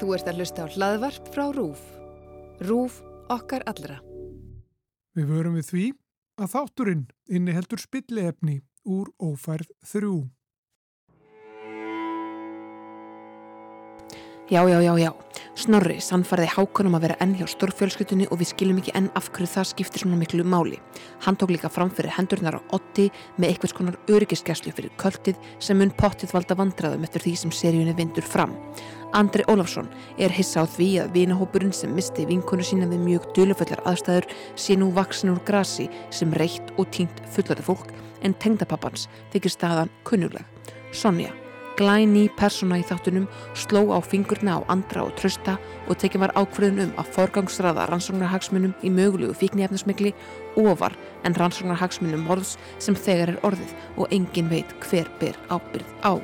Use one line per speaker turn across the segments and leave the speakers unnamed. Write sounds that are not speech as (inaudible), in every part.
Þú ert að hlusta á hlaðvarp frá RÚF. RÚF okkar allra.
Við vörum við því að þátturinn inni heldur spillefni úr ófærð þrjú.
Já, já, já, já. Snorri sannfærði hákonum að vera enn hjá stórfjölskyldunni og við skiljum ekki enn af hverju það skiptir svona miklu máli. Hann tók líka framfyrir hendurnar á otti með einhvers konar öryggiskeslu fyrir költið sem mun pottið valda vandræðum eftir því sem seríunni vindur fram. Andri Ólafsson er hissa á því að vinahópurinn sem misti vinkonu sína við mjög döluföllar aðstæður sé nú vaksin úr grasi sem reitt og týnt fullari fólk en tengdapappans þykir staðan kunnuleg. Sonja Glæni persóna í þáttunum sló á fingurna á andra og trösta og tekin var ákveðin um að forgangsraða rannsóknarhagsmunum í mögulegu fíknefnismikli ofar en rannsóknarhagsmunum morðs sem þegar er orðið og engin veit hver ber ábyrð á.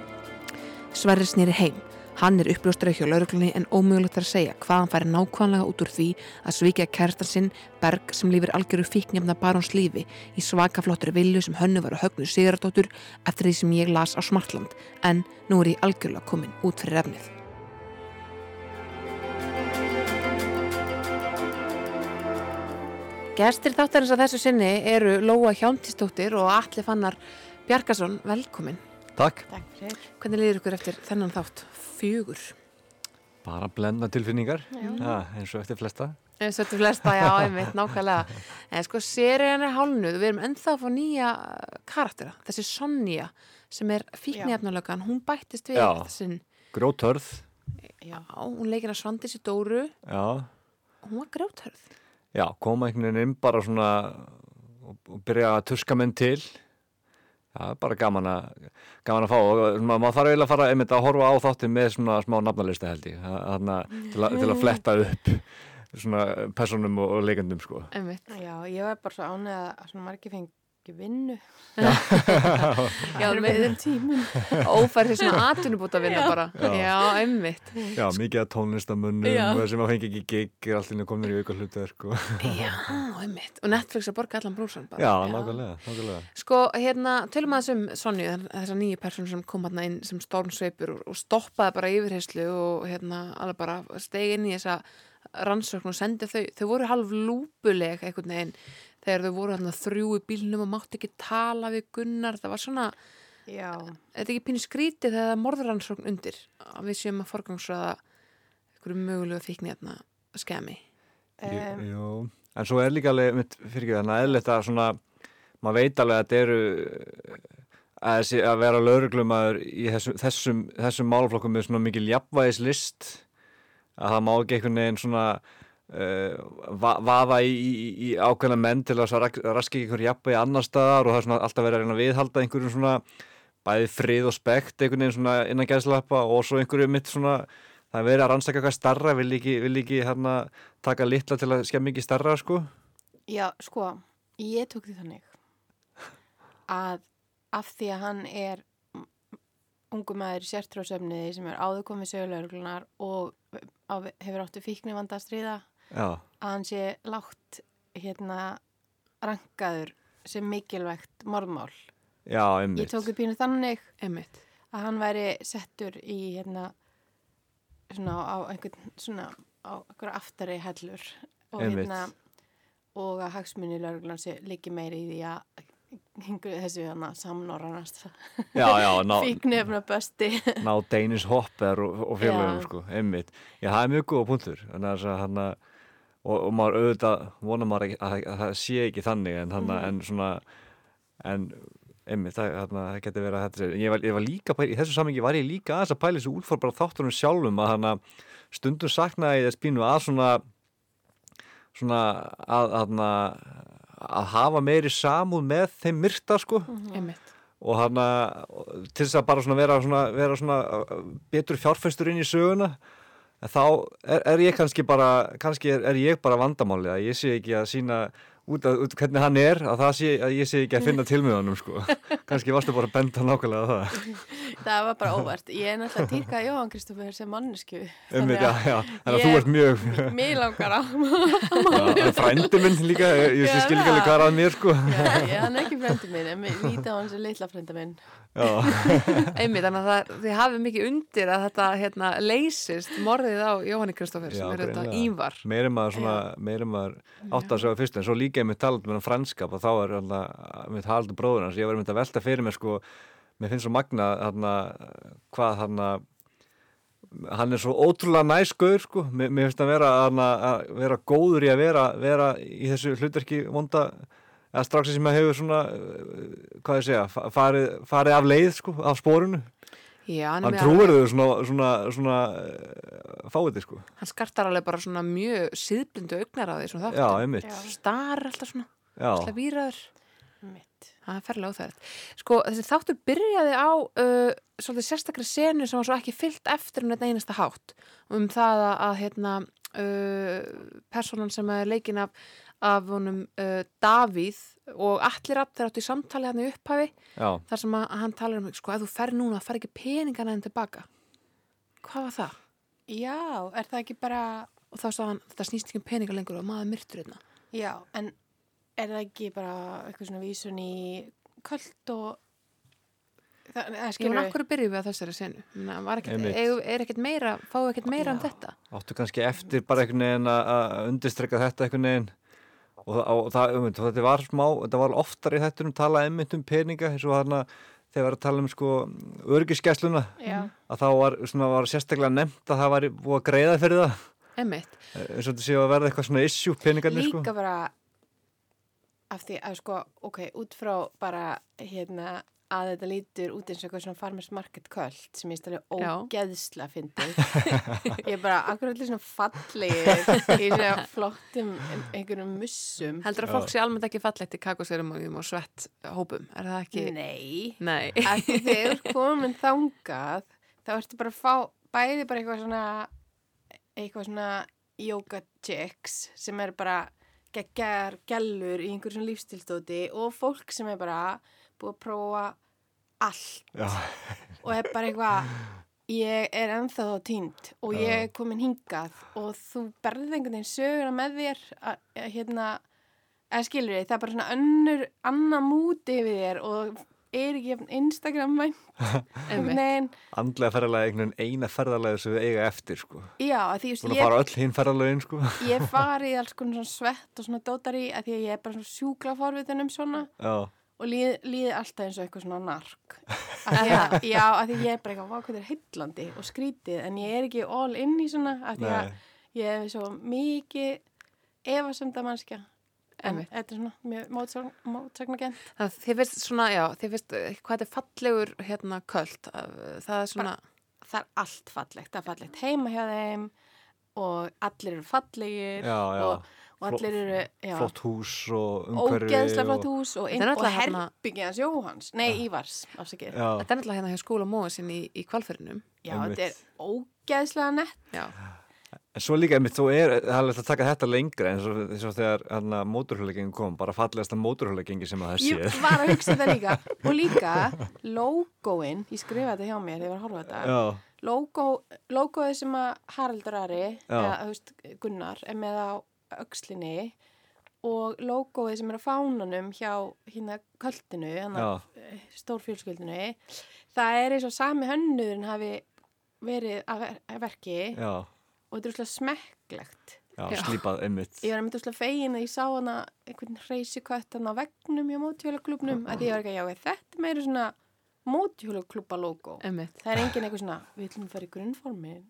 Sverri snýri heim. Hann er uppljóstrað hjá lauruglunni en ómögulegt er að segja hvað hann færi nákvæmlega út úr því að svíkja kærtan sinn Berg sem lífir algjöru fíknefna barons lífi í svakaflottri vilju sem hönnu var að högnu Sigurdóttur eftir því sem ég las á Smartland en nú er ég algjörlega komin út fyrir efnið. Gestir þáttarins að þessu sinni eru Lóa Hjóntistóttir og Alli Fannar Bjarkason. Velkomin.
Takk.
Takk fyrir.
Hvernig liður ykkur eftir þennan þátt? Fjögur.
Bara blenda tilfinningar, ja, eins og eftir flesta.
Eins og þetta flesta, já, einmitt, nákvæmlega. En sko, serían er hálnuð, við erum ennþá að fá nýja eh, karaktera. Þessi Sonja, sem er fíknefnalögan, hún bættist við
Já.
þessin.
Grótörð,
Já, hún leikir að Svandísi Dóru,
já,
hún var grjóthörð.
já, koma einhvern veginn inn bara svona og, og byrja að tuska menn til. Já, bara gaman að, gaman að fá. Og, svona, maður þarf eiginlega að fara einmitt að horfa á þáttin með svona smá nafnalista held ég, þarna til, að- til að fletta upp svona personum og, og leikendum sko.
Einmitt.
Já, ég var bara svo ánægð að svona margir fengi vinnu.
Já, með
þeim tímum.
ófærið svona atunubúta vinna bara.
Já.
Já, einmitt.
Já, mikið að tónlistamunnum
Já.
og sem að fengi ekki gig er allt inni komin í sko. auka hlutverk. og-
Já, einmitt. Og Netflix að borga allan brúsan bara.
Já, nákvæmlega, nákvæmlega.
Sko, hérna, tölum aðeins um Sonju, þessar nýju persónu sem kom hérna inn sem stórnsveipur og, og stoppaði bara yfirheyslu og hérna, alveg bara stegi inn í þessa rannsókn og sendi þau, þau voru halv lúpuleg einhvern veginn þegar þau voru hérna þrjú í bílnum og mátti ekki tala við Gunnar, það var svona,
Já,
er þetta ekki pínu skrítið þegar það er morðrannsókn undir að við séum að forgangsraða einhverju mögulega fíkni hérna skemi.
um,
Jú, jú. en svo er líka alveg mitt fyrir ekki þannig eðlilegt að svona maður veit alveg að þetta eru að, þessi, að vera lauruglumæður í þessu, þessum, þessum málaflokkum með svona mikil jafnvægislist að það má ekki einhvern veginn svona uh, va vafa í, í, í ákveðna menn til að rak, raski einhver jafnvægi annar staðar og það er svona alltaf verið að reyna að viðhalda einhverjum svona bæði frið og spekt einhvern veginn svona innan gæðslappa og svo einhverju mitt svona það er verið að rannsaka eitthvað starra vil ekki, vil ekki hérna taka litla til að skemmi ekki starra sko
já, sko, ég tók því þannig að af því að hann er ungu maður í sértrósefniði sem er áður komið sögulegurlunar og á, hefur áttu fíkni vanda að stríða
já,
að hann sé lágt hérna rankaður sem mikilvægt morðmál.
já,
Ég
einmitt
tók því pínu þannig
Einmitt.
að hann væri settur í hérna svona á einhvern svona á einhverja aftari hellur og
Einmitt.
hérna og að hagsmunni lauruglan sé líki meiri í því að hingu þessu hérna samnorranast
já, já,
(laughs)
ná,
fíknefna besti
ná Danish Hopper og, og félagum
Já.
sko, einmitt já, það er mjög góða punktur þannig að þess að hann að- og, og maður auðvitað vonar maður ekki, að, að það sé ekki þannig en, hana, en svona en einmitt, það, þarna, það geti verið að þetta sé- ég var, ég var líka, pæli, í þessu samengi var ég líka aðeins að pæla þessu útfór bara þáttunum sjálfum að hann að stundum saknaði ég þess pínu að svona svona að, að, að, að hafa meiri samúð með þeim myrta sko
Einmitt.
og hann til þess að bara svona vera, svona, vera svona uh, betur fjárfæstur inn í söguna en þá er, er ég kannski bara kannski er, er ég bara vandamálið að ég sé ekki að sína út af út af hvernig hann er að, það sé, að ég sé ekki að finna til með honum
(laughs)
sko. kannski varstu bara að benda nákvæmlega á það
(laughs) það var bara óvart. Ég er náttúrulega týrkað Jóhann Kristoffer sem mannesku.
um þetta, já, þannig að
ég-
þú ert mjög
(laughs) Mér langar
(laughs)
á.
Já, frændi minn líka, ég, ég
Já,
skil ekki alveg hvað er að mér sko
(laughs) Já, ég, hann er ekki frendi minn, en mér víta á hann sem litla frenda minn.
já,
Einmitt, þannig að það, þið hafið mikið undir að þetta hérna, leysist morðið á Jóhanni Kristoffer sem
Já,
er þetta
greinilega.
Ívar.
meiri maður svona meiri maður átt að segja fyrst en svo líka ég með talat með franskap og þá er alltaf með talat um bróður hans, ég var með að velta fyrir mér sko, mér finnst svo magna hana, hvað hana hann er svo ótrúlega næskur sko, mér, mér finnst að vera, hana, að vera góður í að vera, vera í þessu hlutverki vonda eða strax sem að hefur svona eh, hvað ég segja, fa- farið, farið af leið sko, af spórinu
Já, er
hann
með
trúir
alveg-
þau svona, svona, svona eh, fáiði sko
Hann skartar alveg bara svona mjög síðblindu augnar á því svona
já,
þáttum.
einmitt
Já,
Star alltaf svona,
já,
alltaf výraður.
mitt.
Það er ferlega óþægilegt. Sko, þessi þáttur byrjaði á uh, svolítið sérstakri senu sem var svo ekki fyllt eftir um þetta einasta hátt. Um það að, að hérna, uh, personan sem er leikin af, af honum uh, Davíð og allir aft þeir áttu í samtali hann í upphafi
já
þar sem að hann talar um, sko, ef þú fer núna, far ekki peningana enn tilbaka. Hvað var það?
Já, er það ekki bara,
Og þá sagði hann, þetta snýst ekki um peninga lengur og maður myrtur hérna.
já, en er það ekki bara eitthvað svona vísun í köld og, það, það
Ég
skilur
menn, akkur byrjuðum við að þessari senu. Menna, var ekkert,
Einmitt.
eigum- er ekkert meira, fáu ekkert meira um
Já.
þetta.
áttu kannski eftir bara einhvern veginn að- að undirstreka þetta einhvern veginn og, það- og það, um, þetta var smá þetta var oftar í þettunum talað einmitt um peninga eins og þarna þegar við erum að tala um sko örgiskæsluna
Já,
að þá var, svona, var sérstaklega nefnt að það var búið að greiða fyrir það
Emmitt.
eins og þetta séu að verða eitthvað svona issue peningarnir sko
líka bara af því að sko, ok, út frá bara hérna að þetta lítur út eins og eitthvað svona farmers market köld sem ég stæði
Já.
ógeðsla fyndið. ég er bara akkur allir svona fallegir í svona flottum einhverjum mussum.
Heldur að fólk sé almennt ekki fallegt í kakosverumóðum og svett hópum, er það ekki?
Nei.
Nei.
að því þegar þú ert komin þangað þá ertu bara að fá bæði bara eitthvað svona eitthvað svona yoga chicks sem er bara geggar gellur í einhver svona lífstilstóti og fólk sem er bara búið að prófa allt
já,
og er bara eitthvað ég er ennþá þá týnd og ég er komin hingað og þú berðið einhvern veginn söguna með þér að, að, hérna, eða skilur þið, það er bara svona önnur annar múti yfir þér og er ekki jafn Instagram vænt
(laughs) Einmitt.
Nein,
andlega ferðalagi einhvern veginn eina ferðalagi sem við eiga eftir sko
já, að því
búin
þú
að fara
veist,
öll hinn ferðalögin sko
ég, ég fari í alls konar svona svett og svona dótar í að því að ég er bara svona sjúkla forvitin um svona
já,
og líð, líði alltaf eins og eitthvað svona nark að því
(laughs)
að, já, að því ég er bara eitthvað vákvæður heillandi og skrítið en ég er ekki all in í svona að því að
Nei.
ég er svo mikið efasemda mannskja en
Einmitt.
þetta er svona mjög mótsagn- mótsagnagent
Það, þið finnst svona, já, þið finnst eh, hvað þetta er fallegur hérna köld, að- það er svona,
það er allt fallegt, það er fallegt heima hjá þeim og allir eru fallegir
já, já.
Og, og allir eru já.
flott hús og umhverfi
ógeðslega flott
og-
hús og,
Þetta er
inn, og
náttúrulega hérna-
herbyggið hans Jóhans nei, Ívars, afsakið já,
Ah. já,
þetta er náttúrulega hérna hjá skóla móa sinni í, í kvalfyrunum.
þetta er ógeðslega nett
Já,
En svo líka, einmitt, þú er, það er alveg að taka þetta lengra eins og, eins og þegar hana, mótorhjólagengi kom, bara fallegasta mótorhjólagengi sem að það séð.
ég var að hugsa það líka og líka logoin ég skrifaði þetta hjá mér, ég var að horfa á þetta
Já,
logo, logoið sem að Haraldur Ari
Já.
eða, þú veist, Gunnar er með á öxlinni og logoið sem er á fánanum hjá hérna kvöldinu
já,
stórfjölskyldinu það er eins og sami hönnurinn hafi verið að ver að verki
já,
og þetta er úrslega smekklegt
já,
Já.
slípað einmitt.
ég var einmitt úrslega fegin að ég sá hana einhvern reysikött hann á veggnum hjá mótjólaklubnum að því ég var ekki að já, þetta er meira svona mótjólaklubba logo
emmitt.
það er engin eitthvað svona, við ætlum að fara í grunnformin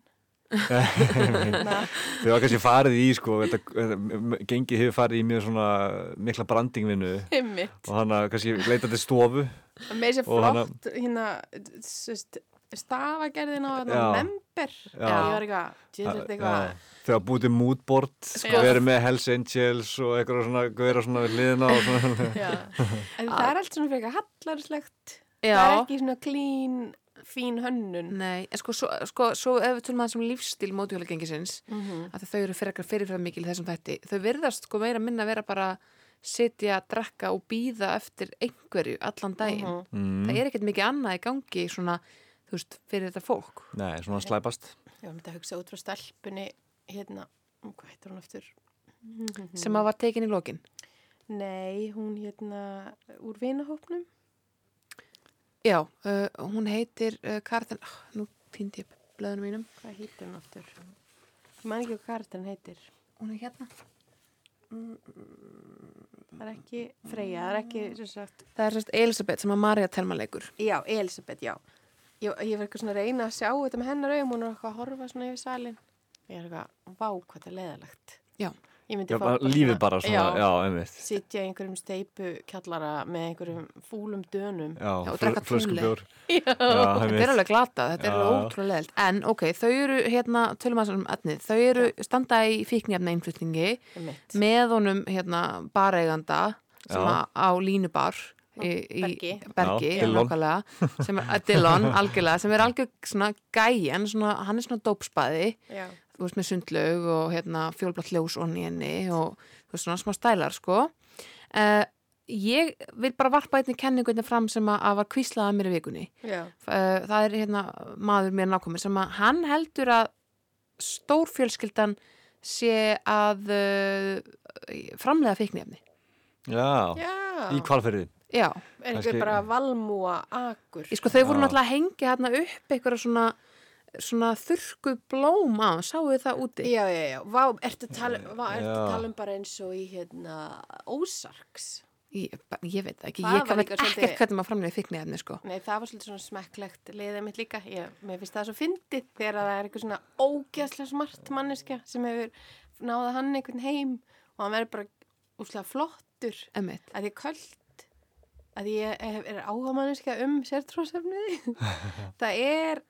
(laughs) Þau var kannski farið í, sko, þetta, þetta gengi hefur farið í mjög svona mikla brandingvinnu
heimitt,
og hann að kannski leita til stofu.
með þessi
Og hana-
flott hérna, sest, stafagerðin á hérna,
Já.
member
Já.
ég var eitthvað,
Já,
djöðlegt eitthvað
Þau var búið til moodboard, sko, verið með Hells Angels og eitthvað svona, verið svona við hliðina og svona.
Já. En það er allt svona fyrir eitthvað hallarslegt
Já,
Það er ekki svona clean, fín hönnun.
nei, en sko, svo, sko, svo ef við tölum aðeins um lífstíl mótjólagengisins,
Mm -hmm.
að þau eru fyrir, fyrirfram mikil í þessum þætti, þau virðast sko meira minna vera bara sitja, drekka og býða eftir einhverju allan daginn.
Mhm.
Mm.
Það er ekkert mikið annað í gangi svona, þú veist, fyrir þetta fólk.
Nei, svona slæpast.
Ég var myndið að hugsa út frá stelpunni hérna, hvað heitir hún aftur?
sem að var tekin í lokin.
Nei, hún hérna úr vinahópnum.
Já, uh, hún heitir uh, Karðan, oh, nú týndi ég blöðunum mínum.
Hvað heitir hún aftur? Ég man ekki hvað kartan heitir.
Hún er hérna.
Það er ekki Freyja, það er ekki sem sagt.
Það er sérst Elisabeth sem að Marja Telma leikur.
Já, Elisabeth, já. Ég, ég var eitthvað svona að reyna að sjá þetta með hennar augum, hún er eitthvað að horfa svona yfir salin. Ég er eitthvað, vá, hvað það er leðalegt.
Já.
Ég myndi
Já,
fá
bara, lífið bara svona, já, já einmitt.
Sitja í einhverjum steipu kjallara með einhverjum fúlum dönum.
Já,
Já, og
flö-
drekka
flöskubjór.
(laughs) Já.
Þetta er
Já,
alveg glata, þetta er
Já.
alveg ótrúlega leðilt. En ok, þau eru hérna, tölum að þessum efnið, þau eru standa í fíknjafna innflutningi
Einmitt.
með honum hérna bareiganda sem
Já.
að, á línubar í, í
Bergi.
Bergi
Já, Dillon. (laughs)
nákvæmlega, sem er, eh, Dillon, algjörlega sem er algjör svona gæjan svona, hann er svona dópsbæði
Já.
þú veist með sundlaug og hérna fjólblátt ljós onni henni og þú veist svona smá stælar sko uh, ég vil bara varpa einni kenningu einnig fram sem að, að var kvíslaða mér í vikunni
Já.
uh, það er hérna maður mér nákomin sem að hann heldur að stórfjölskyldan sé að uh, framlega feiknefni
já.
Já.
í hvalferði.
já,
Er
Kannski-
einhver bara valmúa akur?
ég sko þau voru
Já.
náttúrulega að hengja hérna upp einhverja svona svona þurrku blóm á, sáu þið það úti
Já, já, já. Vá, ertu að tala, vá, ertu að
Já.
tala um bara eins og í hérna Ósarks?
ég, bara- ég veit það ekki,
Það
ég
var
veit
líka
ekkert
svolítið-
hvernig maður framlega feiknefni sko
Nei, það var svolítið svona smekklegt leiðið mitt líka. Ég, mér finnst það svo fyndið þegar það er eitthvað svona ógeðslega smart manneskja sem hefur náða hann einhvern heim og hann verður bara úslega flottur
Emmett.
að því köld að því ég hef- er áhuga manneskja um
(laughs)
sértrósefniði. það er,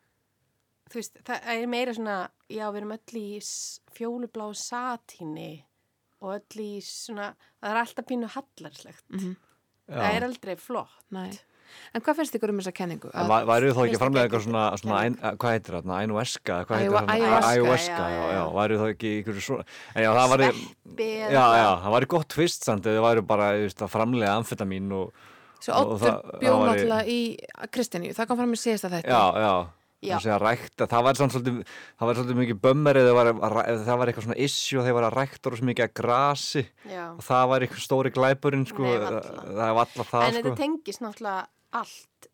þú veist, það er meira svona, já, við erum öll í s- fjólublá satíni og öll í svona, það er alltaf pínu hallarslegt. Það er
Já.
aldrei flott.
Nei. En hvað finnst ykkur um þessa kenningu?
En væ- væru þá ekki
Veistu
framlega
ekki-
eitthvað svona, svona ein, að- hvað heitir það, ænueska, hvað heitir
Ayahu-
það,
ayahuasca,
ænueska, já,
já, já,
já,
já.
væru þá ekki ykkur svona, en já, það var,
Beð,
já, já, það var gott tvist samt, eða það væru bara, þú veist, að framlega amfetamín og,
Svo
og
Ottur
það- það
bjóð
var í-
náttúrulega í Kristiníu, það kom fram í síðasta þetta.
já, já,
Já.
Þessi að rækta, það var samt svolítið, það var svolítið mikið bömmar eða það var, að ræ- eða það var eitthvað svona issi og þeir var að rækta rosa mikið að grasi
Já.
og það var eitthvað stóri glæpurinn sko,
Nei,
það
varla.
það er valla það
en
sko.
þetta tengis náttúrulega allt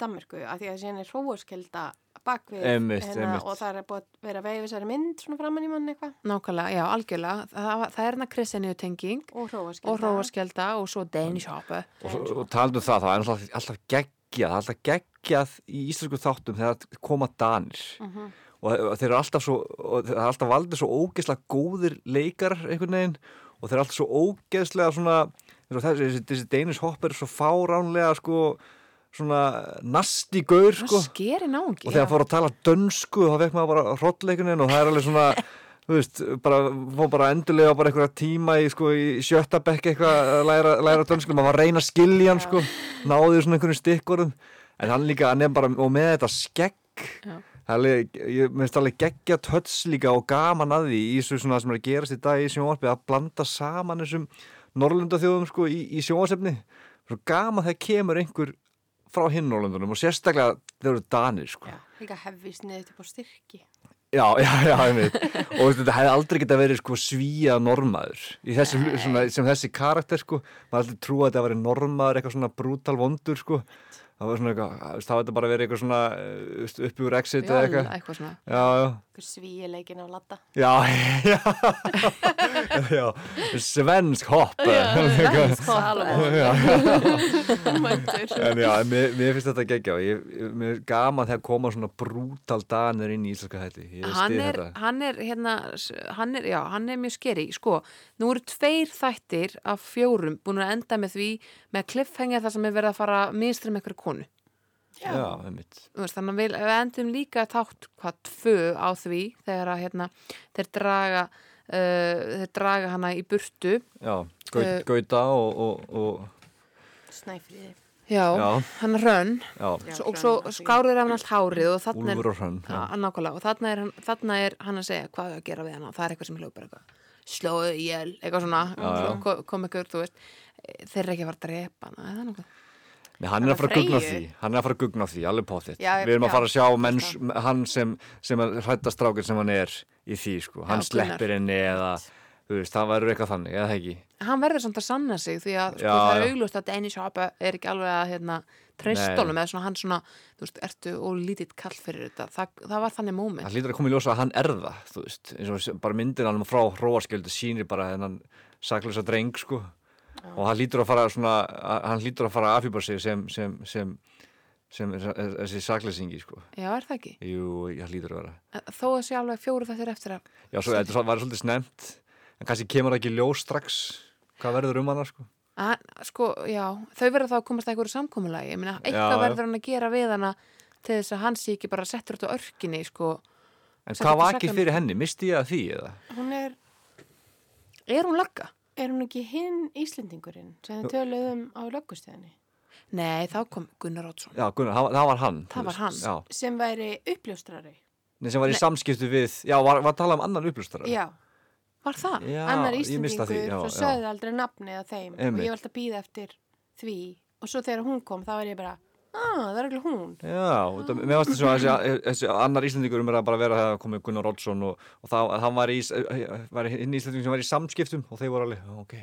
Danmörku af því að síðan er hróarskelda bakvið
Einmitt, einmitt.
hérna og það er búið að vera að veifa þessari mynd svona framann í mann eitthvað
Nákvæmlega, já, algjörlega. Það, það er hérna Kristiníu tenging
og hróarskelda
og Róaskjelda og svo Danish Hopper.
og, og taldu það, það er alltaf, alltaf geggjað, alltaf geggjað í íslensku þáttum þegar koma danir og, og þeir eru alltaf svo, og það er alltaf valdið svo ógeðslega góðir leikar einhvern veginn og þeir eru alltaf svo ógeðslega svona, eins og þessi, þessi, þessi Danish Hopper er svo fáránlega sko svona nasti gaur
Það
sko
skeri náungi.
og þegar fór að tala dönsku þá vekk maður bara hrottleikunin og það er alveg svona (laughs) þú veist, bara, fór bara endurlega bara einhverja tíma í, sko, í sjötta bekk eitthvað að læra, læra dönsku maður var að reyna að skilja hann sko náði svona einhvern stikkorðum en hann líka, hann er bara, og með þetta skegg
Já.
það er alveg, ég minnst alveg geggja töts líka og gaman að því í þessu svona sem er að gerast í dag í sjónvarpið að blanda saman þessum Norrlunda þjóðum sko í, í sjónvarsefni svo gaman þegar kemur einhver frá hinn Norrlundunum og sérstaklega þeir eru danir sko
Já, líka hefðis niður til búið styrki
Já, já, já, einmitt. og veistu, þetta hefði aldrei geta verið sko svíja normaður í þessu, hlu- svona, sem þessi karakter sko, maður aldrei trúa að þetta veri normaður eitthvað svona brútal vondur sko það var svona eitthvað, þú veist, það var þetta bara verið eitthvað svona eh, veist, upp úr exit eða
eitthvað.
eitthvað
Eitthvað svona.
Já,
svíileikin á ladda
já, (laughs) já, já, já, svensk hopp
Salomon
En já, en mér, mér finnst þetta geggja og ég, ég- mér er gaman þegar koma svona brútal danir inn í íslenska hætti Ég
Hann
styð
er,
þetta.
hann er hérna, s- hann er, já, hann er mjög skeri, sko, nú eru tveir þættir af fjórum búin að enda með því með kliffhengja þar sem er verið að fara að minnstri með einhverju konu.
Já, einmitt
Þú veist, þannig að við, við endum líka tátt hvað tvö á því þegar að hérna, þeir draga uh, þeir draga hana í burtu
Já, gaut,
Eh,
gauta og, og, og
snæfriði
já,
Já.
hann hrönn
já,
Já,
og
Hrönn,
svo
að því.
skárður af hann allt hárið og þarna er,
Úlfur og Hrönn
ja,
já.
nákvæmlega, og þarna er, hann- þarna er hann að segja hvað er að gera við hana og það er eitthvað sem hljópar eitthvað slóðu í jæl, eitthvað svona
já.
svo kom, kom eitthvað, þú veist "Eh, þeir eru ekki að fara að drepa hana eða nokkuð.
Nei, hann er
Bara
að fara að gugna á
Freyju?
því, hann er að fara að gugna á því, alveg pottitt.
Já, já,
Við erum að
já,
fara að sjá menns,
alltaf.
hann sem, sem að hrætta strákinn sem hann er í því, sko. Hann
Já, Gunnar.
sleppir henni eða, þú veist, það verður eitthvað þannig, eða það ekki.
Hann verður samt að sanna sig því að sko,
Já,
það er
já.
augljóst að Danish Hopper er ekki alveg að hérna,
Nei.
treystónum eða svona hann svona, þú veist, ertu og lítið kall fyrir þetta. Það, það var þannig moment.
Það hlýtur að koma í ljósa að hann er það, þú veist. Eins og bara myndin hann frá hróaskjöldu sínir bara þennan saklösa dreng, sko. Og hann hlýtur að fara svona, að- hann hlýtur að fara að afhjúpa sig sem, sem, sem, sem, sem þessi saklösingi, sko.
Já, er það ekki?
Jú, hann hlýtur að vera.
Þó að sé alveg fjóru þettir eftir að
Já, svo þetta var svolítið snemt, en kannski kemur það ekki í ljós strax hvað verður um hana, sko.
Að, sko, já, þau verða þá að komast að einhverju samkómulagi, ég meina,
Já,
eitthvað
já.
verður hann að gera við hana til þess að hann sé ekki bara settur út á örkinni, sko
En
Sem
hvað
þetta
vakir
sakramenti.
fyrir henni? Misti ég að því eða?
Hún er,
er hún lagga?
er hún ekki hinn Íslendingurinn sem þið töluðum á löggustöðinni
Nei, þá kom Gunnar Rótsson
Já, Gunnar, það, það var hann.
Það
þú
var
veist.
hann.
Já,
sem væri uppljóstrari?
Nei, sem var í samskiptu við, já, var, var að tala um annan upplustara.
Já,
Var það?
já
annar
ég mista
Íslendingur,
því, já,
svo
já.
sögðu aldrei nafnið að þeim
Einmitt.
og ég var alltaf að býða eftir því og svo þegar hún kom þá var ég bara, ah, það er ekki hún.
Já, þetta, mér varst þess að þessi, þessi annar íslendingur um er að bara vera að koma Gunnar Oddsson og, og það, hann var í, eh, var hinn íslendingur sem var í samskiptum og þeir voru alveg, ok.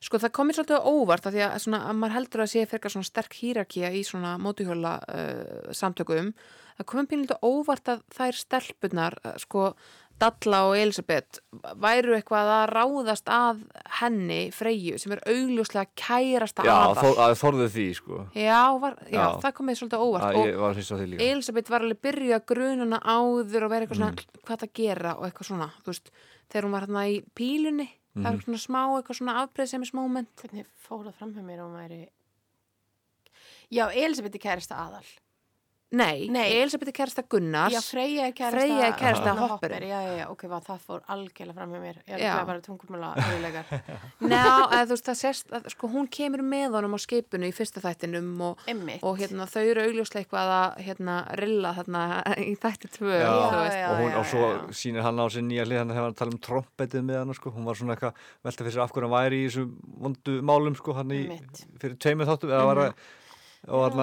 Sko, það komið svolítið á óvart af því að, svona, að maður heldur að sé frekar svona sterk hýrakía í svona mótuhjóla uh, samtökum. Það komið pínlítið á óvart að þær stelpunar, uh, sko, Dalla og Elisabeth, væru eitthvað að ráðast að henni, Freyju, sem er augljóslega kærasta
Já,
aðal.
þó, að þorðu því, sko.
Já, var, já,
Já.
það kom með svolítið á óvart
Að
og
ég var hins á því líka.
Elisabeth var alveg byrjuð að grununa áður og vera eitthvað svona
Mm.
hvað það gera og eitthvað svona, þú veist, þegar hún var hérna í pílunni, það
Mhm.
var eitthvað svona smá eitthvað svona afbreyðsemismoment.
Hvernig fór það framhjá mér og hún væri... Já, Elisabeth er kærasta aðal.
Nei,
Nei.
Elisabeth er kærasta Gunnars,
Já, Freyja er kærasta...
Freyja er kærasta
Hopper.
Hopper.
Já, já, já, ok, vá, það fór algjörlega framhjá mér. Ég er
Já.
líklega bara tungumála
(laughs)
auðlegar.
Ná, eða, þú veist, það sérst að sko, hún kemur með honum á skipinu í fyrsta þættinum og,
Emmitt.
og hérna, þau eru augljóslega eitthvað að hérna, rilla þarna í þætti tvö,
Já,
þú
já,
veist.
já,
og hún,
já,
og svo
já.
sýnir hann á sér nýja hlið hann hefur hann að tala um trompetið með hann sko. hún var svona eitthvað velta fyrir sér af hverju hann væri í þessu vondu málum sko, hann í,
Einmitt. Mhm.
fyrir tveimur þáttum eða var að og, hann,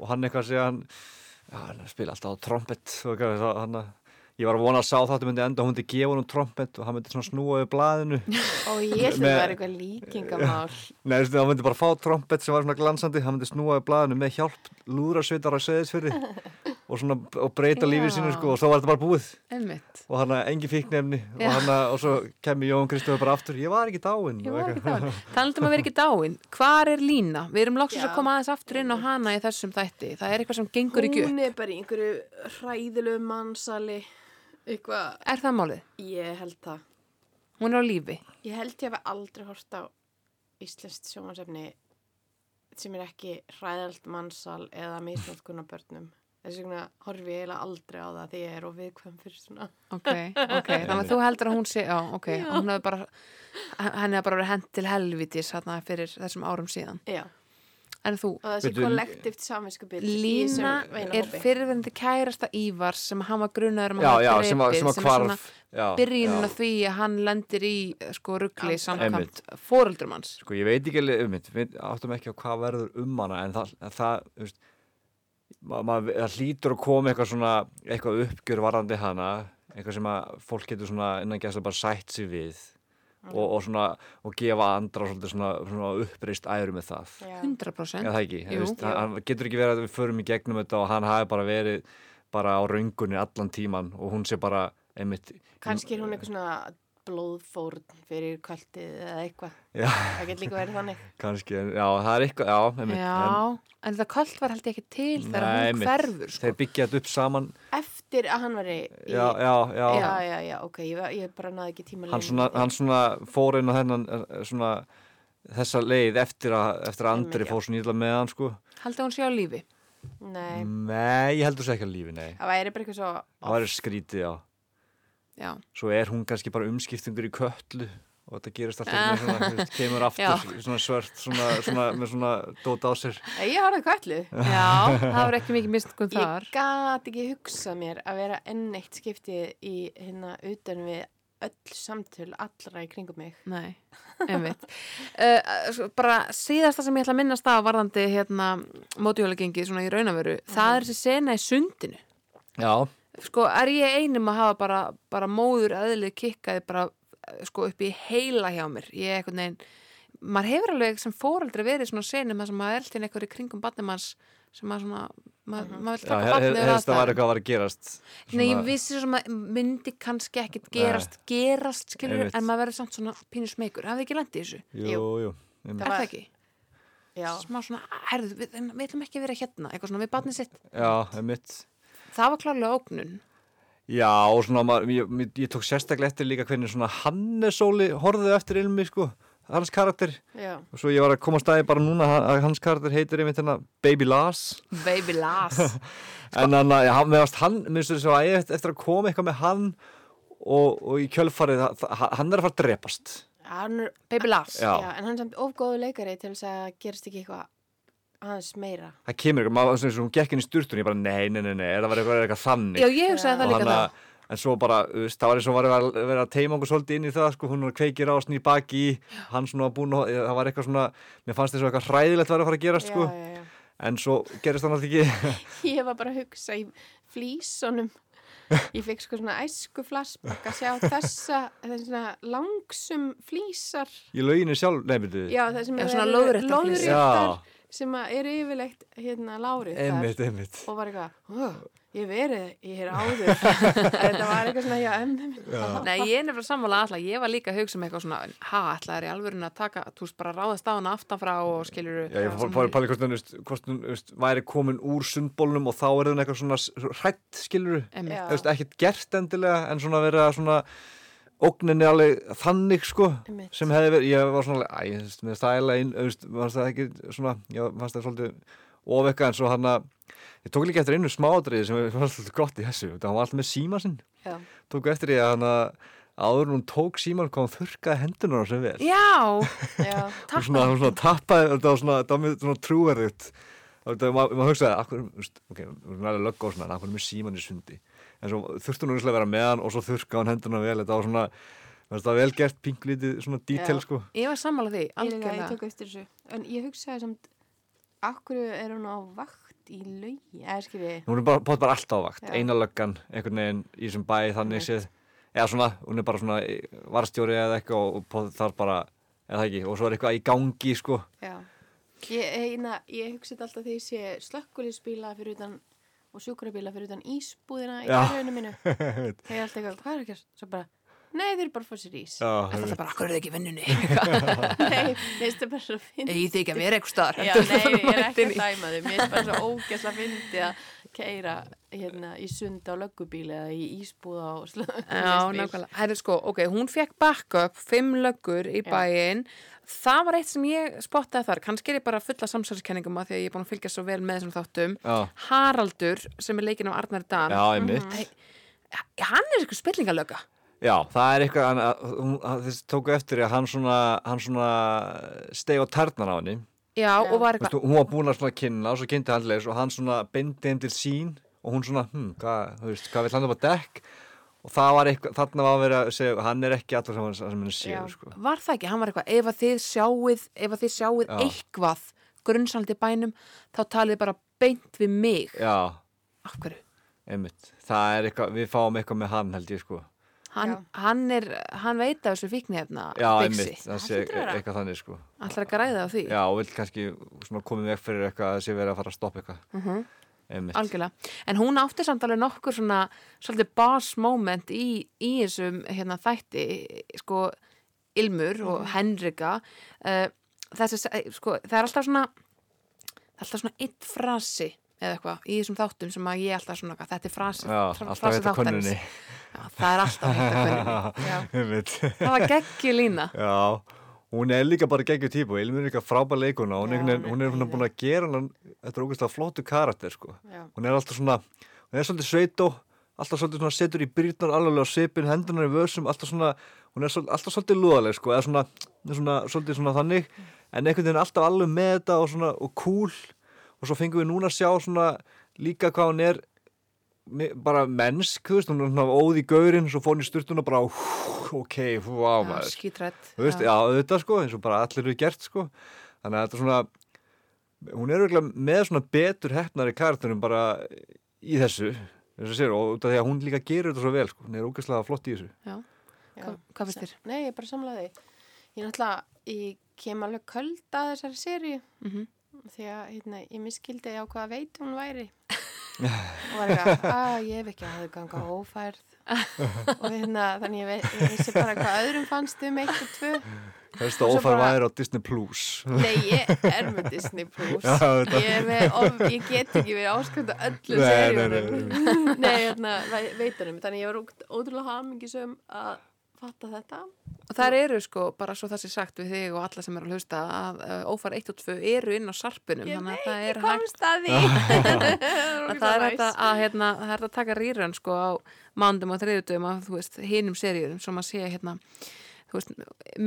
og hann eitthvað segja hann, já, hann spila alltaf á trompet og eitthvað, þá- hann að Ég var að vona að sá þáttu myndi enda, hún myndi gefa hún trompet og hann myndi svona snúa við blaðinu.
(laughs) Og ég held að
Með-
það var eitthvað líkingamál.
Nei, þú veist, hann myndi bara fá trompet sem var svona glansandi, hann myndi snúa við blaðinu með hjálp lúðrasveitar að segja þess
(laughs)
og svona og breyta lífið sínu
Já.
sko og svo var þetta bara búið.
Einmitt.
og hann að engin fíknefni og,
Já.
hana, og svo kemur Jón Kristofur bara aftur ég var ekki dáinn
Ég
og
var
eitthvað.
ekki dáin. (laughs) Talandum að vera ekki dáin. Hvar er Lína? Við erum loksins
Já.
að koma aðeins aftur inn á hana í þessum þætti. Það er eitthvað sem gengur ekki upp.
Hún er bara í einhverju hræðilegu mannsali, eitthvað,
Er það málið?
ég held það.
Hún er á lífi.
Ég held ég hafi aldrei hort á íslenskt sjónvarsefni sem er ekki hræðalt mannsal eða misnótkun á börnum. Þess vegna horfi ég eiginlega aldrei á það því ég er og viðkvæm fyrir svona.
Ok, ok. Þannig að þú heldur að hún sé, já, ok. Já. Hún hefur bara, henni hefur bara verið hent til helvitis hérna fyrir þessum árum síðan.
Já,
En þú,
og þessi
Veitu,
kollektivt saminsku byrð.
Lína er fyrirverandi kærasta Ívars sem hann var grunaður um að
já,
hafa
já, sem að,
drepið, sem
sem að
er svona
kvarf já,
byrjunin
já.
að því að hann lendir í eh, sko ruggli
Andstæðan.
samkvæmt
Einmitt.
fóreldrum hans.
sko ég veit ekki alveg um mitt við áttum ekki á hvað verður um hana en það, en það þú veist, ma- maður það hlýtur að koma eitthvað svona eitthvað uppgjör varandi hana eitthvað sem að fólk getur svona innan gæsla bara sætt sér við og, og svona og gefa andra svolítið svona, svona uppreist æru með það
100%.
Já, það ekki,
Jú.
Jú, veist, hann hann getur ekki verið að við förum í gegnum þetta og hann hafi bara verið bara á raungunni allan tíman og hún sé bara einmitt
Kanski er hún eitthvað svona blóðfórn fyrir kvöldið eða eitthvað.
Já.
Það getur líka verið þannig.
kannski, en- já, það er eitthvað, já, einmitt en,
Já, en þetta kvöld var held ég ekki til þegar
Nei,
hún
einmitt.
hverfur sko.
þeir byggja þetta upp saman
Eftir að hann var í...
já, já, já,
já, já, já, ok, ég, var- ég bara náði ekki tíma
Hann, svona, hann svona fór inn á þennan eh, svona, þessa leið eftir að, eftir að
Einmitt,
Andri
já.
fór svona íðla með hann sko.
Haldið hún sé á lífi
Nei,
Mm. nei, ég heldur þess ekki að lífi, nei
það væri bara eitthvað svo...
það var skrítið, já
Já,
(laughs) svo er hún kannski bara umskiptingur í köllu og þetta gerist alltaf með svona, þú veist, kemur aftur
Ah. Já.
svona svört, svona, svona, með svona dót á sér.
Nei, Ég har það kvöldið.
já það var ekki mikið mistkunn þar
Ég gat ekki hugsað mér að vera enn eitt skiptið í hérna utan við öll samtöl allra í kringum mig.
Nei, einmitt. (laughs) uh, svo bara síðasta sem ég ætla að minnast það varðandi hérna mótjólagengi svona í raunavöru, það er þessi sena í sundinu.
Já,
Sko, er ég einum að hafa bara, bara móður aðlið kikkaði bara eh, sko upp í heila hjá mér. Ég er einhvern veginn, maður hefur alveg sem fóreldri verið svona senum að sem maður eldi einhver í kringum barnimanns sem maður svona, maður,
Mhm.
maður vil
já
taka
he-
barnið
he-
úr
heyrst það var
aðstæðum.
eitthvað var að gerast
Nei, ég
Svona-
vissi svo sem að myndi kannski ekkit gerast, gerast, skilur,
Einmitt.
en maður verður samt svona pínur smekur. Hafið þið ekki landið þessu?
Jú, jú einmitt.
Það
Er
var-
það ekki?
Já,
smá svona, herðu, við, en við ætlum ekki að vera hérna, eitthvað svona, við barnið sitt.
Já, einmitt
Það var klárlega ógnun.
Já, og svona, maður, ég, ég, ég tók sérstaklega eftir líka hvernig svona Hannes Óli horfðu eftir ilmi, sko, hans karakter
já.
og svo ég var að koma að staði bara núna að að hans karakter heitir einmitt hérna Baby Lars
Baby Lass. Sko-
en hann, já, hann, meðast hann, minnstu þess að ég eftir að koma eitthvað með hann og, og í kjölfarið, það- það- hann er að fara að drepast
Hann er,
(laughs) Baby Lass.
Já,
já. en hann er samt ofgóðu leikari til þess að gerist ekki eitthvað aðeins meira.
það kemur eitthvað, maður eins og hún gekk inn í sturtunni, ég bara nei, nei, nei, nei, er það var eitthvað, er eitthvað þannig
Já, ég hugsaði það
Og
líka
hann
það.
að- En svo bara, þú veist, það var eins og var að vera að teima okkur svolítið inn í það, sko, hún kveikir á sný baki í, hann svona búin og það var eitthvað svona, mér fannst þess að eitthvað hræðilegt var að fara að gerast, sko,
já, (laughs) já, já.
en svo gerist það náttúrulega ekki,
Ég var bara að hugsa í flísunum. Ég fekk sko svona æsku flassbakk að sjá þessa, þessna langsum flísar.
í lauginu sjálf, nei, byrju,
Já, það sem
Já,
eru
svona lóðréttar flísar.
lóðréttar sem að eru yfirleitt hérna láréttar.
einmitt, einmitt,
Og var eitthvað, "Ó, ég hef verið, ég er áður. (laughs) Þetta var eitthvað svona, (laughs) já, emmi minn.
Nei, ég er nefnilega sammála allar, ég var líka að hugsa um eitthvað svona, ha, allar er í alvörinu að taka, þú veist, bara ráðast á hana aftanfrá og skilur
Já, ég fór að pæla hvort hún, veist, hvort hún, veist, væri komin úr sundbólnum og þá er hún eitthvað svona s- hrætt, skilur,
Já.
þú veist, ekkert gert endilega, en svona verið að svona, ógninni alveg þannig, sko,
Einmitt.
sem hefði verið, ég var svona, alveg, æ, þú veist, með stæla inn, þú veist, fannst það ekki svona, ég fannst það svolítið ofekka, en svo hann að, ég tók líka eftir einu smáadriði sem mér fannst svolítið gott í þessu, það var alltaf með síma sinn,
Já.
tók eftir því að hann að, áður en hún tók síman kom þurkaði hendunar sem vel.
Já,
Já,
Og svona, hún svona tappaði, þetta var svona, þetta var mjög svona trúverðugt. Það var, maður maður hugsaði, akkur, veist, ok, hún er alveg lögg á svona, en akkur er með síman í sundi. En svo þurfti hún auðvitað að vera með hann og svo þurrkaði hann hendurna vel, þetta var svona, veist, það var vel gert pinglítið svona dítel,
Já.
sko.
ég var sammála því,
ég, líka, ég
algjörlega.
tók eftir þessu. En ég hugsaði samt, akkur er hún á vakt í laugi, eða skiljiði.
Hún er bara, bótt bara alltaf á vakt,
Já.
eina löggan, einhvern veginn í þessum bæ, þannig séð. Eða svona, hún er bara svona í- varstjóri eða eitthvað og, og poð- þar bara, eða það ekki, og svo er eitthvað í gangi, sko.
(laughs) Já, ég, eina, ég hugsaði alltaf því að ég sé slökkulísbíla fyrir utan og sjúkrabíla fyrir utan ísbúðina í
Já.
hverjunu
(laughs)
mínu. Þegar ég er alltaf eitthvað, hvað er ekki að, svo bara, nei þeir eru bara að fá sér ís.
Já,
Það er bara, akkur er þið ekki í vinnunni?
(laughs)
(laughs)
Nei, minnst það bara svo fyndi.
Ég þið ekki að vera eitthvað staðar.
Já,
heldur
nei,
þú mætt
ég er ekki
inn í.
að dæma þau, minnst bara svo ógæsla fyndi að keira hérna í sund á löggubíli eða í ísbúða á slökkulísbíl.
Já, nákvæmlega. Herðu sko, ok, hún fekk backup, fimm löggur í
Já.
bæinn. Það var eitt sem ég spottaði þar. Kannski er ég bara fulla samsælskenningum að því að ég er búin að fylgja svo vel með þessum þáttum.
Já.
Haraldur, sem er leikinn af Arnar Dan,
Já, einmitt.
Mhm.
hann er eitthvað spillingalögga.
Já, það er eitthvað, hann, að- hún- að þess tóku eftir að hann svona, hann svona steig á tærnar á henni.
Já, og var
Veist,
eitthvað,
hún var búin að svona kynna og svo kynnti hann leis og hann svona beindi henn til sín og hún svona, hm, hvað, þú veist, hvað vill hann upp á dekk? Og það var eitthvað, þarna var að vera að segja, hann er ekki allar sem hann, sem hann
Já.
séu, sko.
var það ekki, hann var eitthvað, ef að þið sjáuð, ef að þið sjáuð
Já.
eitthvað grunnsaldi bænum, þá talið bara beint við mig.
Já,
Af hverju?
einmitt. Það er eitthvað, við fáum eitthvað með hann, held ég, sko.
Hann,
Já.
hann er, hann veit af þessu fíknefna,
Já,
Bixi.
einmitt, það
Það
sé
hlýtur að vera.
eitthvað þannig, sko.
Ætlar að græða á því.
Já, og vill kannski svona komið vekk fyrir eitthvað að sé verið að fara að stoppa eitthvað.
Mhm.
Einmitt.
Algjörlega. En hún átti samt alveg nokkur svona svolítið boss moment í, í þessum hérna, þætti, sko, Ilmur og Henrika. Uh, þessi, eh, sko, það er alltaf svona, það er alltaf svona eitt frasi eða eitthvað í þessum þáttum sem að ég alltaf svona, eitthvað, þetta er frasi,
Já,
fr-
alltaf þetta
þáttarins.
konunni.
Já, það er alltaf hitt að
(laughs)
konunni.
Já, einmitt.
Það var geggjulína.
Já, hún er líka bara geggjur típa og Ilmi er líka frábæð leikuna og hún, já,
Já,
hún,
hún
hún
er
er svona búin að gera hann þetta er ógeðslega flottu karakter sko
Já.
hún er alltaf svona, hún er svolítið sveitó alltaf svolítið svona setur í brýtnar alveg á svipin, hendunar í vössum, alltaf svona hún er svolítið, alltaf svolítið lúðaleg sko eða svona, svona, svolítið svona þannig en einhvern veginn alltaf alveg með þetta og svona og cool og svo fengum við núna að sjá svona líka hvað hún er mi- bara mennsk, þú veist, hún er svona óð í gaurinn, svo fór hún í sturtuna bara, hú, ok, hú, á maður.
skítrætt.
Þú veist, já, auðvitað sko, eins og bara allir eru gert sko. Þannig að þetta er svona, hún er auðvitað með svona betur hefnari karakterum bara í þessu, þess að sér, og út af því að hún líka gerir þetta svo vel sko, hún er ógæslega flott í þessu.
Já.
Hva, hvað finnst þér?
Nei, ég er bara samlaði. Ég náttúrulega, ég kem alveg köld að þessari séri
Mm -hmm.
því að hérna, ég miskildi á hvaða veit hún væri. og var eitthvað, að ég hef ekki að hafa ganga ófærð. og hérna, þannig ég, vei, ég vissi bara hvað öðrum fannst um eitt og tvö.
Helst að
Og svo
ófær
bara-
væri á Disney Plus.
Nei, ég er með Disney Plus.
(laughs) Já, þetta-
ég, er með, of, ég get ekki verið áskönda öllu
Nei, nei,
seríunum.
nei,
Nei, hérna, vei- veitunum. Þannig ég var ógt- ótrúlega hamingisum að fatta þetta.
Og þær eru sko, bara svo það sé sagt við þig og alla sem eru að hlusta að uh, ófar 1 og 2 eru inn á sarpinum
Ég
þannig að það er hægt
komst að
(laughs)
því (laughs)
að
það
það er hægt að, að, hérna, það er hægt að taka rýran sko á mándum og þriðutum af þú veist, hinum seríurum sem að sé hérna þú veist,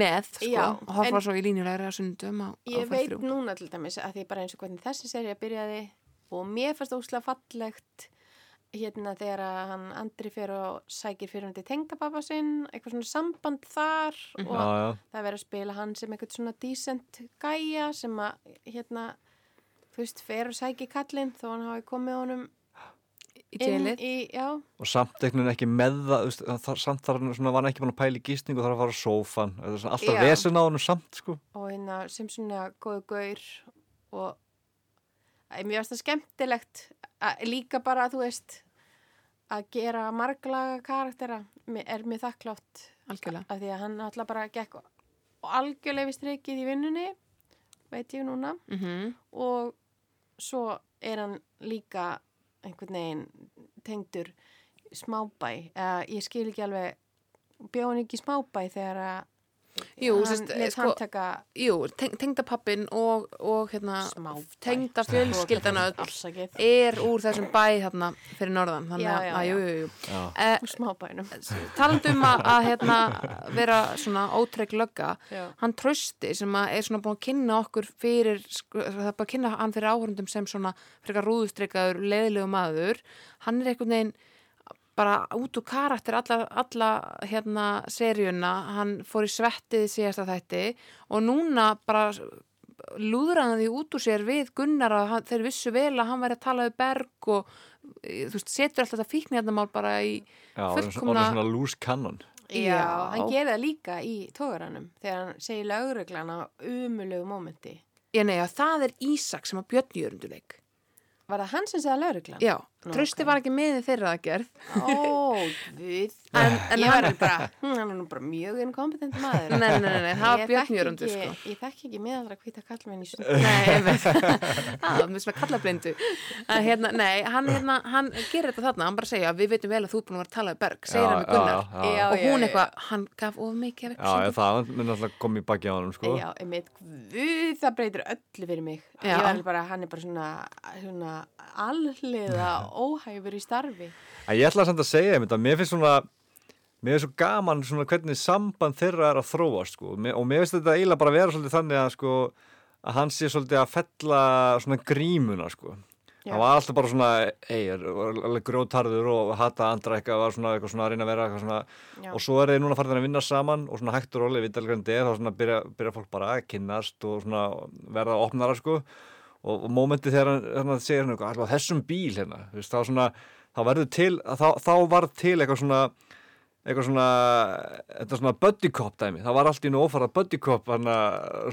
með sko,
Já,
og horfa
en-
svo í línulegri að sundum á, á
ég
fæð
veit
þrjú
núna til dæmis að því bara eins og hvernig þessi serið byrjaði og mér fannst óslega fallegt hérna þegar að hann Andri fyrir og sækir fyrir hann til tengdababa sinn eitthvað svona samband þar
Mhm.
Já,
og
já.
það er verið að spila hann sem eitthvað svona decent gæja sem að hérna þú veist, fer og sækir kallinn þó hann hafi komið honum
í
inn
djelið
í, já,
og samt einhvern veginn ekki með það, þú veist, það samt þar hann svona var hann ekki búin að pæla í gísningu og þarf að fara á sófan Þetta er svona alltaf
Já.
vesen á hann samt sko
og hérna sem svona góðu gaur og Æ, mér finnst það skemmtilegt að, líka bara þú veist að gera marglaga karaktera Mér- er mér þakklátt
algjörlega
af því að hann alltaf bara gekk og algjörlega við strikið í vinnunni veit ég núna
mm
og svo er hann líka einhvern veginn tengdur smábæ eða ég skil ekki alveg bjóð hann ekki í smábæ þegar að
Jú,
hann
sérst,
let
sko-
hann taka
Jú, teng, tengdapappin og, og hérna,
Smábæ.
tengdafjölskyldan öll
afsakið
er úr þessum bæ þarna fyrir norðan þannig
Já,
að,
já,
að jú,
já.
jú, jú
Já.
Eh,
úr smábænum
talandum að, að hérna, vera svona ótrygg lögga
Já.
hann trösti sem að er svona búin að kynna okkur fyrir, sko, það er bara að kynna hann fyrir áhörundum sem svona frekar rúðustreikaður leiðilegu maður, hann er einhvern veginn bara út úr karakter alla, alla hérna seríuna, hann fór í svettið í síðasta þætti og núna bara lúðraði því út úr sér við Gunnar að hann, þeir vissu vel að hann væri að tala við Berg og e, þú veist, setur alltaf þetta fíknirnamál bara í
Já, orðin svona-
Fullkomna-
orðin svona loose cannon
já,
Já.
hann gerir það líka í tógaranum þegar hann segir lögreglana umulögu mómenti
Já, nei, já, það er Ísak sem að björn í örunduleik.
var það hann sem segði lögreglan?
Já,
Nú,
trösti
ok.
var ekki með í þeirra aðgerð.
ó, við
En, en
ég
hann,
var bara, hm, hann er nú bara mjög inkompetent maður
nei, nei, nei, nei, það var
Ég
björn
þekki
í örundu,
ekki-
sko.
Ég þekki ekki miðaldra hvita kallmenn í sund.
Nei, ég
(laughs)
veit, það er mjög svona kallablindu. En hérna, nei, hann, hérna, hann gerir þetta þarna, hann bara segja, við veitum vel að þú er búin að vera að tala við Berg, segir hann við Gunnar.
Já, já, já.
Já,
og
já,
hún
já.
eitthvað, hann gaf of mikið af
Já, ég,
eitthvað.
það mun alltaf komið í baki á hann sko.
Já, einmitt, guð, það breytir öllu fyrir mig.
Já.
Ég var alveg bara, hann er bara svona, svona alliða óhæfur í starfi.
En ég ætla samt að segja einmitt að mér finnst svona mér finnst svo gaman svona hvernig samband þeirra er að þróast sko. Mér- og mér finnst þetta eiginlega bara að vera svolítið þannig að sko, að hann sé svolítið að fella svona grímuna sko.
Já.
hann var alltaf bara svona ei, er- var alveg grjótarður og hata andra eitthvað, var svona, eitthvað svona að reyna að vera eitthvað svona
Já.
og svo er þeir núna farin að vinna saman og svona hægt og rólega við delgrandi er þá svona byrja, byrja fólk bara að kynnast og svona verða opnara sko og, og mómentið þegar hann- þegar hann segir hann eitthvað alltaf þessum bíl hérna þú veist, þá svona þá verður til þá, þá varð til eitthvað svona eitthvað svona þetta svona buddy cop dæmi það var allt í nú ofarað buddy cop hana,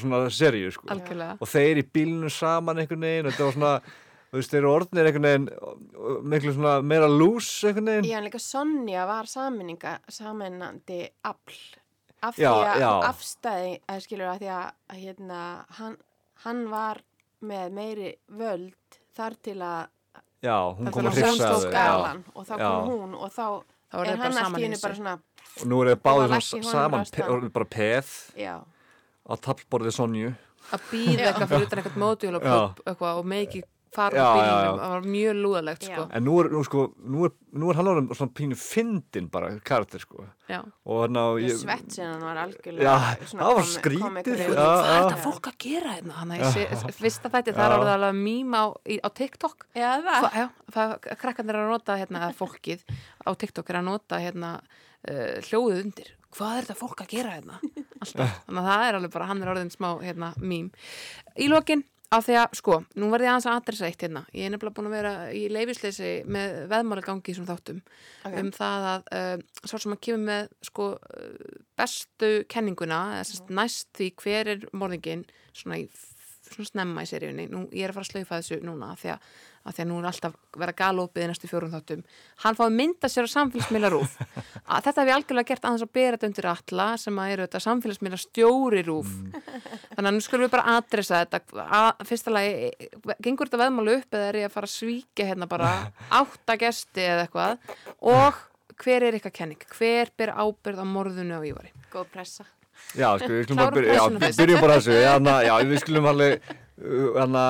svona seríu sko
Algjörlega.
og þeir í bílunum saman einhvern veginn og þetta var svona þú veist þeir eru orðnir einhvern veginn og- og miklu svona meira lús einhvern veginn
Ég hann líka Sonja var saminninga, saminandi afl. Af því
Já,
að
já.
afstæði, að skilur að því að, að hérna, hann, hann var með meiri völd þar til að
já, hún
Það
kom
var
að
hún
hrifsa
stóð
þau, já.
galan og þá
Já.
kom hún og þá,
Þá voru þeir
er
bara
hann
saman
allt
í
í henni
þessu.
bara svona,
og nú eru þeir
var
báðir
lagt í
svona
honum
saman
rastan.
pe- orðnir bara peð
já.
á taflborðið Sonju
Að býða eitthvað fyrir utan eitthvað mótjól og,
Já.
pop, eitthvað, og make it úr
Já, já, já.
bílunum, það var mjög lúðalegt
Já.
sko.
En nú er, nú, sko, nú er, nú er hann orðin svona pínu fyndin bara, karakter sko.
Já.
Og hann á...
Ég svett sinna hann var algjörlega
Já,
svona
það var
komi-
skrítið.
komikur-
sko.
Hvað er
Já,
þetta
já.
fólk að gera hérna? Þannig að ég sé- fyrsta þætti, það
Já.
er orðið alveg mím á, í, á TikTok.
Já, það
Hva, já, það, krakkarnir eru að nota hérna, eða fólkið á TikTok er að nota hérna uh, hljóðið undir. Hvað er þetta fólk að gera hérna?
Ah.
Alltaf. Þannig að það er alveg bara, hann er orðin smá hérna mím. Í lokin, af því að, sko, nú verði ég aðeins að adressa eitt hérna. Ég er nefnilega búin að vera í leifisleysi með veðmálagangi í þessum þáttum
Ok.
um það að uh, sá sem að kemur með sko uh, bestu kenninguna, eða sérst næst því hver er morðingin svona í svona snemma í seríunni, nú ég er að fara að slaufa þessu núna af því að, að því að nú er alltaf vera galopið í næstu fjórum þáttum hann fái mynda sér á samfélagsmiðla rúf að þetta hef ég algjörlega gert aðeins að bera þetta undir alla sem að eru þetta samfélagsmiðla stjóri rúf þannig að nú skulum við bara adressa þetta að, fyrsta lagi, gengur þetta veðmálu upp eða er ég að fara að svíkja hérna
(laughs)
bara átta gesti eða eitthvað og hver er ykkar kenning, hver ber ábyrð á morðunu á Ívari
Góð pressa
Já, sko, við skulum
Klárum
bara byrja, já,
pressuna fyrst.
byrjum bara þessu. Já, na, já, við skulum alveg, uh, hana,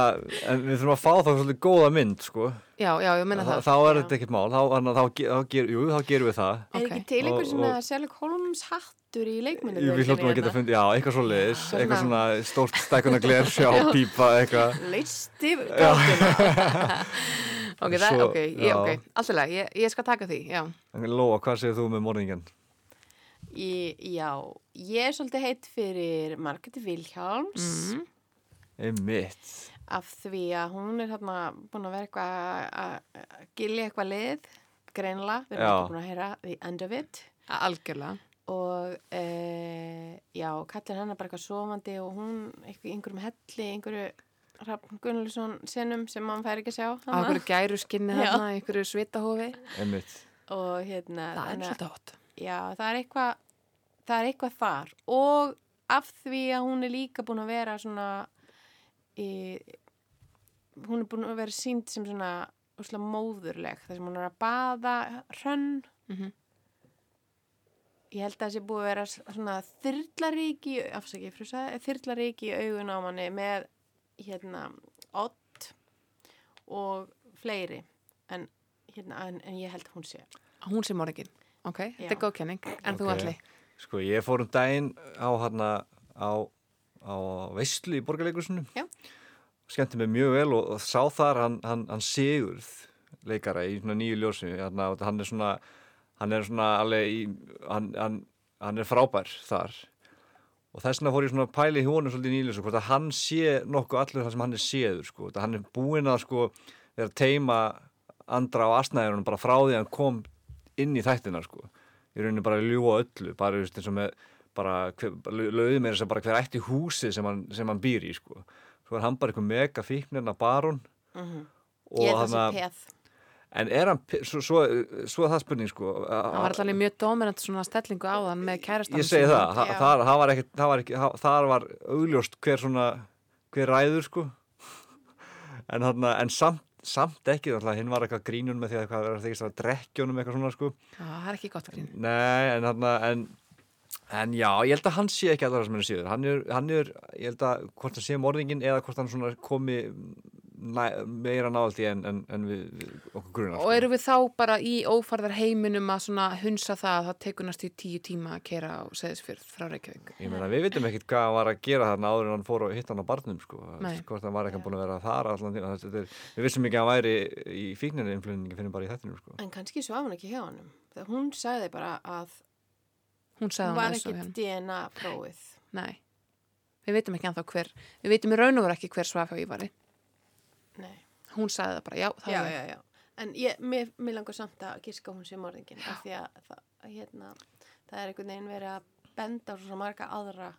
en við þurfum að fá þá svolítið góða mynd, sko.
já, já, ég menna
Þa,
það,
þá er
já.
þetta ekkert mál, þá, hana, þá, ge- þá, ger, jú, þá gerum við það.
Er
Ok.
ekki til einhver
Og-
svona
og-
Sherlock Holmes hattur í leikmyndum? hérna?
Jú, Við hljóttum að geta fundið, já, eitthvað svo leiðis,
Já, hérna.
eitthvað svona
svona-
stórt stækuna gler, sjá, pípa, eitthvað.
Leisti gáttuna
ok, það,
Svo-
ok, ég,
já.
ok alltaf lega, ég, ég skal taka því, já
En Lóa, hvað segir þú með morðingin?
Já, ég er svolítið heitt fyrir Margreti Vilhjálms
mm.
Einmitt.
af því að hún er hérna búin að vera eitthvað að- að gilja eitthvað lið greinlega, við erum
Já.
ekki búin að heyra the end of it
algjörlega
og e, já, kallir hennar bara eitthvað sofandi og hún eitthvað í einhverjum helli, einhverju Rafn Gunnlaugsson senum sem mann fær ekki að sjá
á
hana.
einhverju gæru skinni
Já.
þarna, einhverju svitahofi
Einmitt.
og
það er
hérna þannig að-
svolítið hot
Já, það er eitthvað það er eitthvað þar og af því að hún er líka búin að vera svona e, hún er búin að vera sínd sem svona úsla móðurleg þar sem hún er að baða hrönn
Mhm.
ég held að það sé búið að vera s- svona þyrlaríki afsaki, frusa, þyrlaríki í augun á manni með hérna ott og fleiri en, hérna, en, en ég held að hún sé
hún sem morgin, ok, þetta er
Já.
góð kenning en þú
Ok.
allir,
Sko, ég fór um daginn á hérna á, á veistlu í borgarleikursinu.
Já.
Skemmti mig mjög vel og, og sá þar hann, hann, hann Sigurð leikara í svona nýju ljósi. Hérna, og hann er svona, hann er svona alveg í, hann, hann, hann er frábær þar. Og þess vegna fór ég svona að pæla í honum svolítið nýlega, sko, hvort að hann sé nokkuð allur það sem hann er séður, sko. Það hann er búinn að, sko, vera að teima andra á asnæðurinn bara frá því að hann kom inn í þættina, sko. Ég rauninni bara að ljúa öllu, bara, þú veist, eins og með, bara, hver, lögðu mér þess að bara hver ætti húsið sem hann, sem hann býr í, sko. Svo er hann bara eitthvað mega fíknirna barón og
Mhm. ég held að það
þarna-
sé peð
En er hann, pe- svo, svo, svo er það spurning, sko.
hann var allir mjög dominant svona stellingu á þann með kærastan
Ég segi það, þa
Já.
þar, það var ekki, það var ekki, það, þar var augljóst hver svona, hver ræður sko (laughs) en, þarna, en samt, samt ekki, þannig að hinn var eitthvað grínun með því að hvað verður þykist að drekkja honum eitthvað svona sko
Já, það er ekki gott grín
Nei, en þarna, en En já, ég held að hann sé ekki allar sem hann séður. Hann er, hann er, ég held að hvort hann sé morðingin eða hvort hann svona komi næ, meira náðaldi en, en, en við, við okkur grunar.
og eru við þá bara í ófarðar heiminum að svona hunsa það að það tekur næstu í tíu tíma að kera á seðisfjörð frá Reykjavík
Ég meina, við veitum ekkert hvað hann var að gera þarna áður en hann fór og hitt hann á barnum, sko.
Nei.
Hvort hann var ekki búin að vera þar allan tíma. Þetta er, við vissum ekki að hann væri í fíkninu influningi finnum bara í þettinum, sko.
En kannski svo af hann ekki hjá hannum. Þegar hún sagði bara að
hún sagði hann
hún var
þessu
ekki
hérna.
DNA prófið.
Nei, við veitum ekki anþá hver við veitum í raun og veru ekki hver svaf hjá Ívari
Nei.
hún sagði það bara, já, það
Já,
er
já, já. En ég, mér, mér langar samt að gíska að hún sé morðingin af því að það, hérna, það er einhvern veginn verið að benda á svo marga aðra.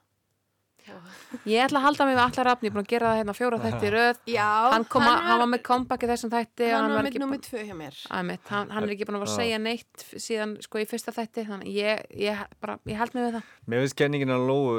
ég ætla að halda mig við allar rafni, ég er búin að gera það hérna fjóra þetta í röð
Já,
hann, kom að, hann var með comeback í þessum þætti og
hann var með
ekki
nummið
búinn-
tvö hjá mér.
Æmitt, hann, hann er ekki búin að fara að
Já.
segja neitt f- síðan sko í fyrsta þætti þannig að ég, ég, bara, ég held mig við það
Mér finnst kenningin að lóu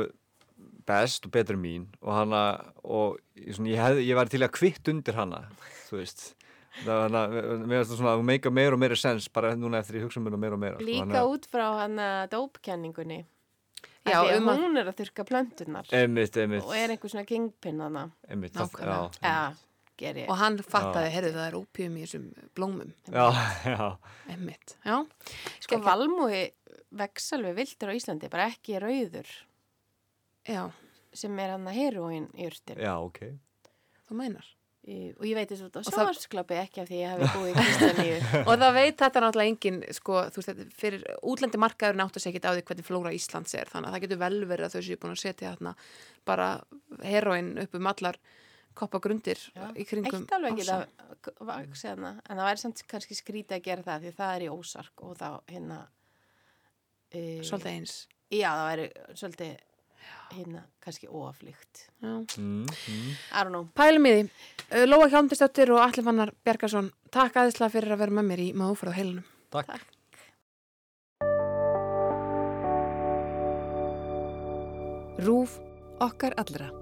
best og betur en mín og hana, og ég svona, ég, hef, ég var til að kvitt undir hana, þú veist. Það var hana, mér finnst það svona að meika meira og meira sens bara núna eftir ég hugsa mér og meira og meira. sko.
Líka
Þannig að-
út frá hann að dópkenningunni.
Já,
Já, því
um
að
að-
hún er að þurka plöntunar
Einmitt, einmitt.
og er einhver svona kingpinn hana.
Einmitt, það-
Nákvæmlega.
já.
Já, ger ég.
Og hann fattaði, heyrðu það er ópjum í þessum blómum,
já, (laughs) já,
emmitt. Já,
Sko
Geggjað.
valmúi vex alveg vildur á Íslandi, bara ekki rauður
já,
sem er hann að heroin í urtin.
já, ok
þú meinar.
Í, og ég veit þess að þetta
Og
á
það-
sjóarsklapi ekki af því ég hafi búið í
(laughs)
Kristaníu.
og það veit þetta náttúrulega engin, sko, þú veist, þetta- fyrir útlendi markaður náttu sér ekkit á því hvernig flóra Íslands er, þannig að það getur vel verið að þau séu búin að setja þarna bara heroin upp um allar koppagrundir í kringum
Eitt alveg ekki
ása.
að vaxi hana, en það væri samt kannski skrítið að gera það því það er í ósark og þá hérna... E,
Svolítið eins.
Já, það væri svolítið hérna kannski óaflíkt.
Já.
mm, mm.
I don't know.
Pælum í því. Uh, Lóa Hjálmdistóttir og Alli Fannar Bjarkarsson, takk aðeinslega fyrir að vera með mér í Máfrað heilinum.
Takk.
RÚF okkar allra.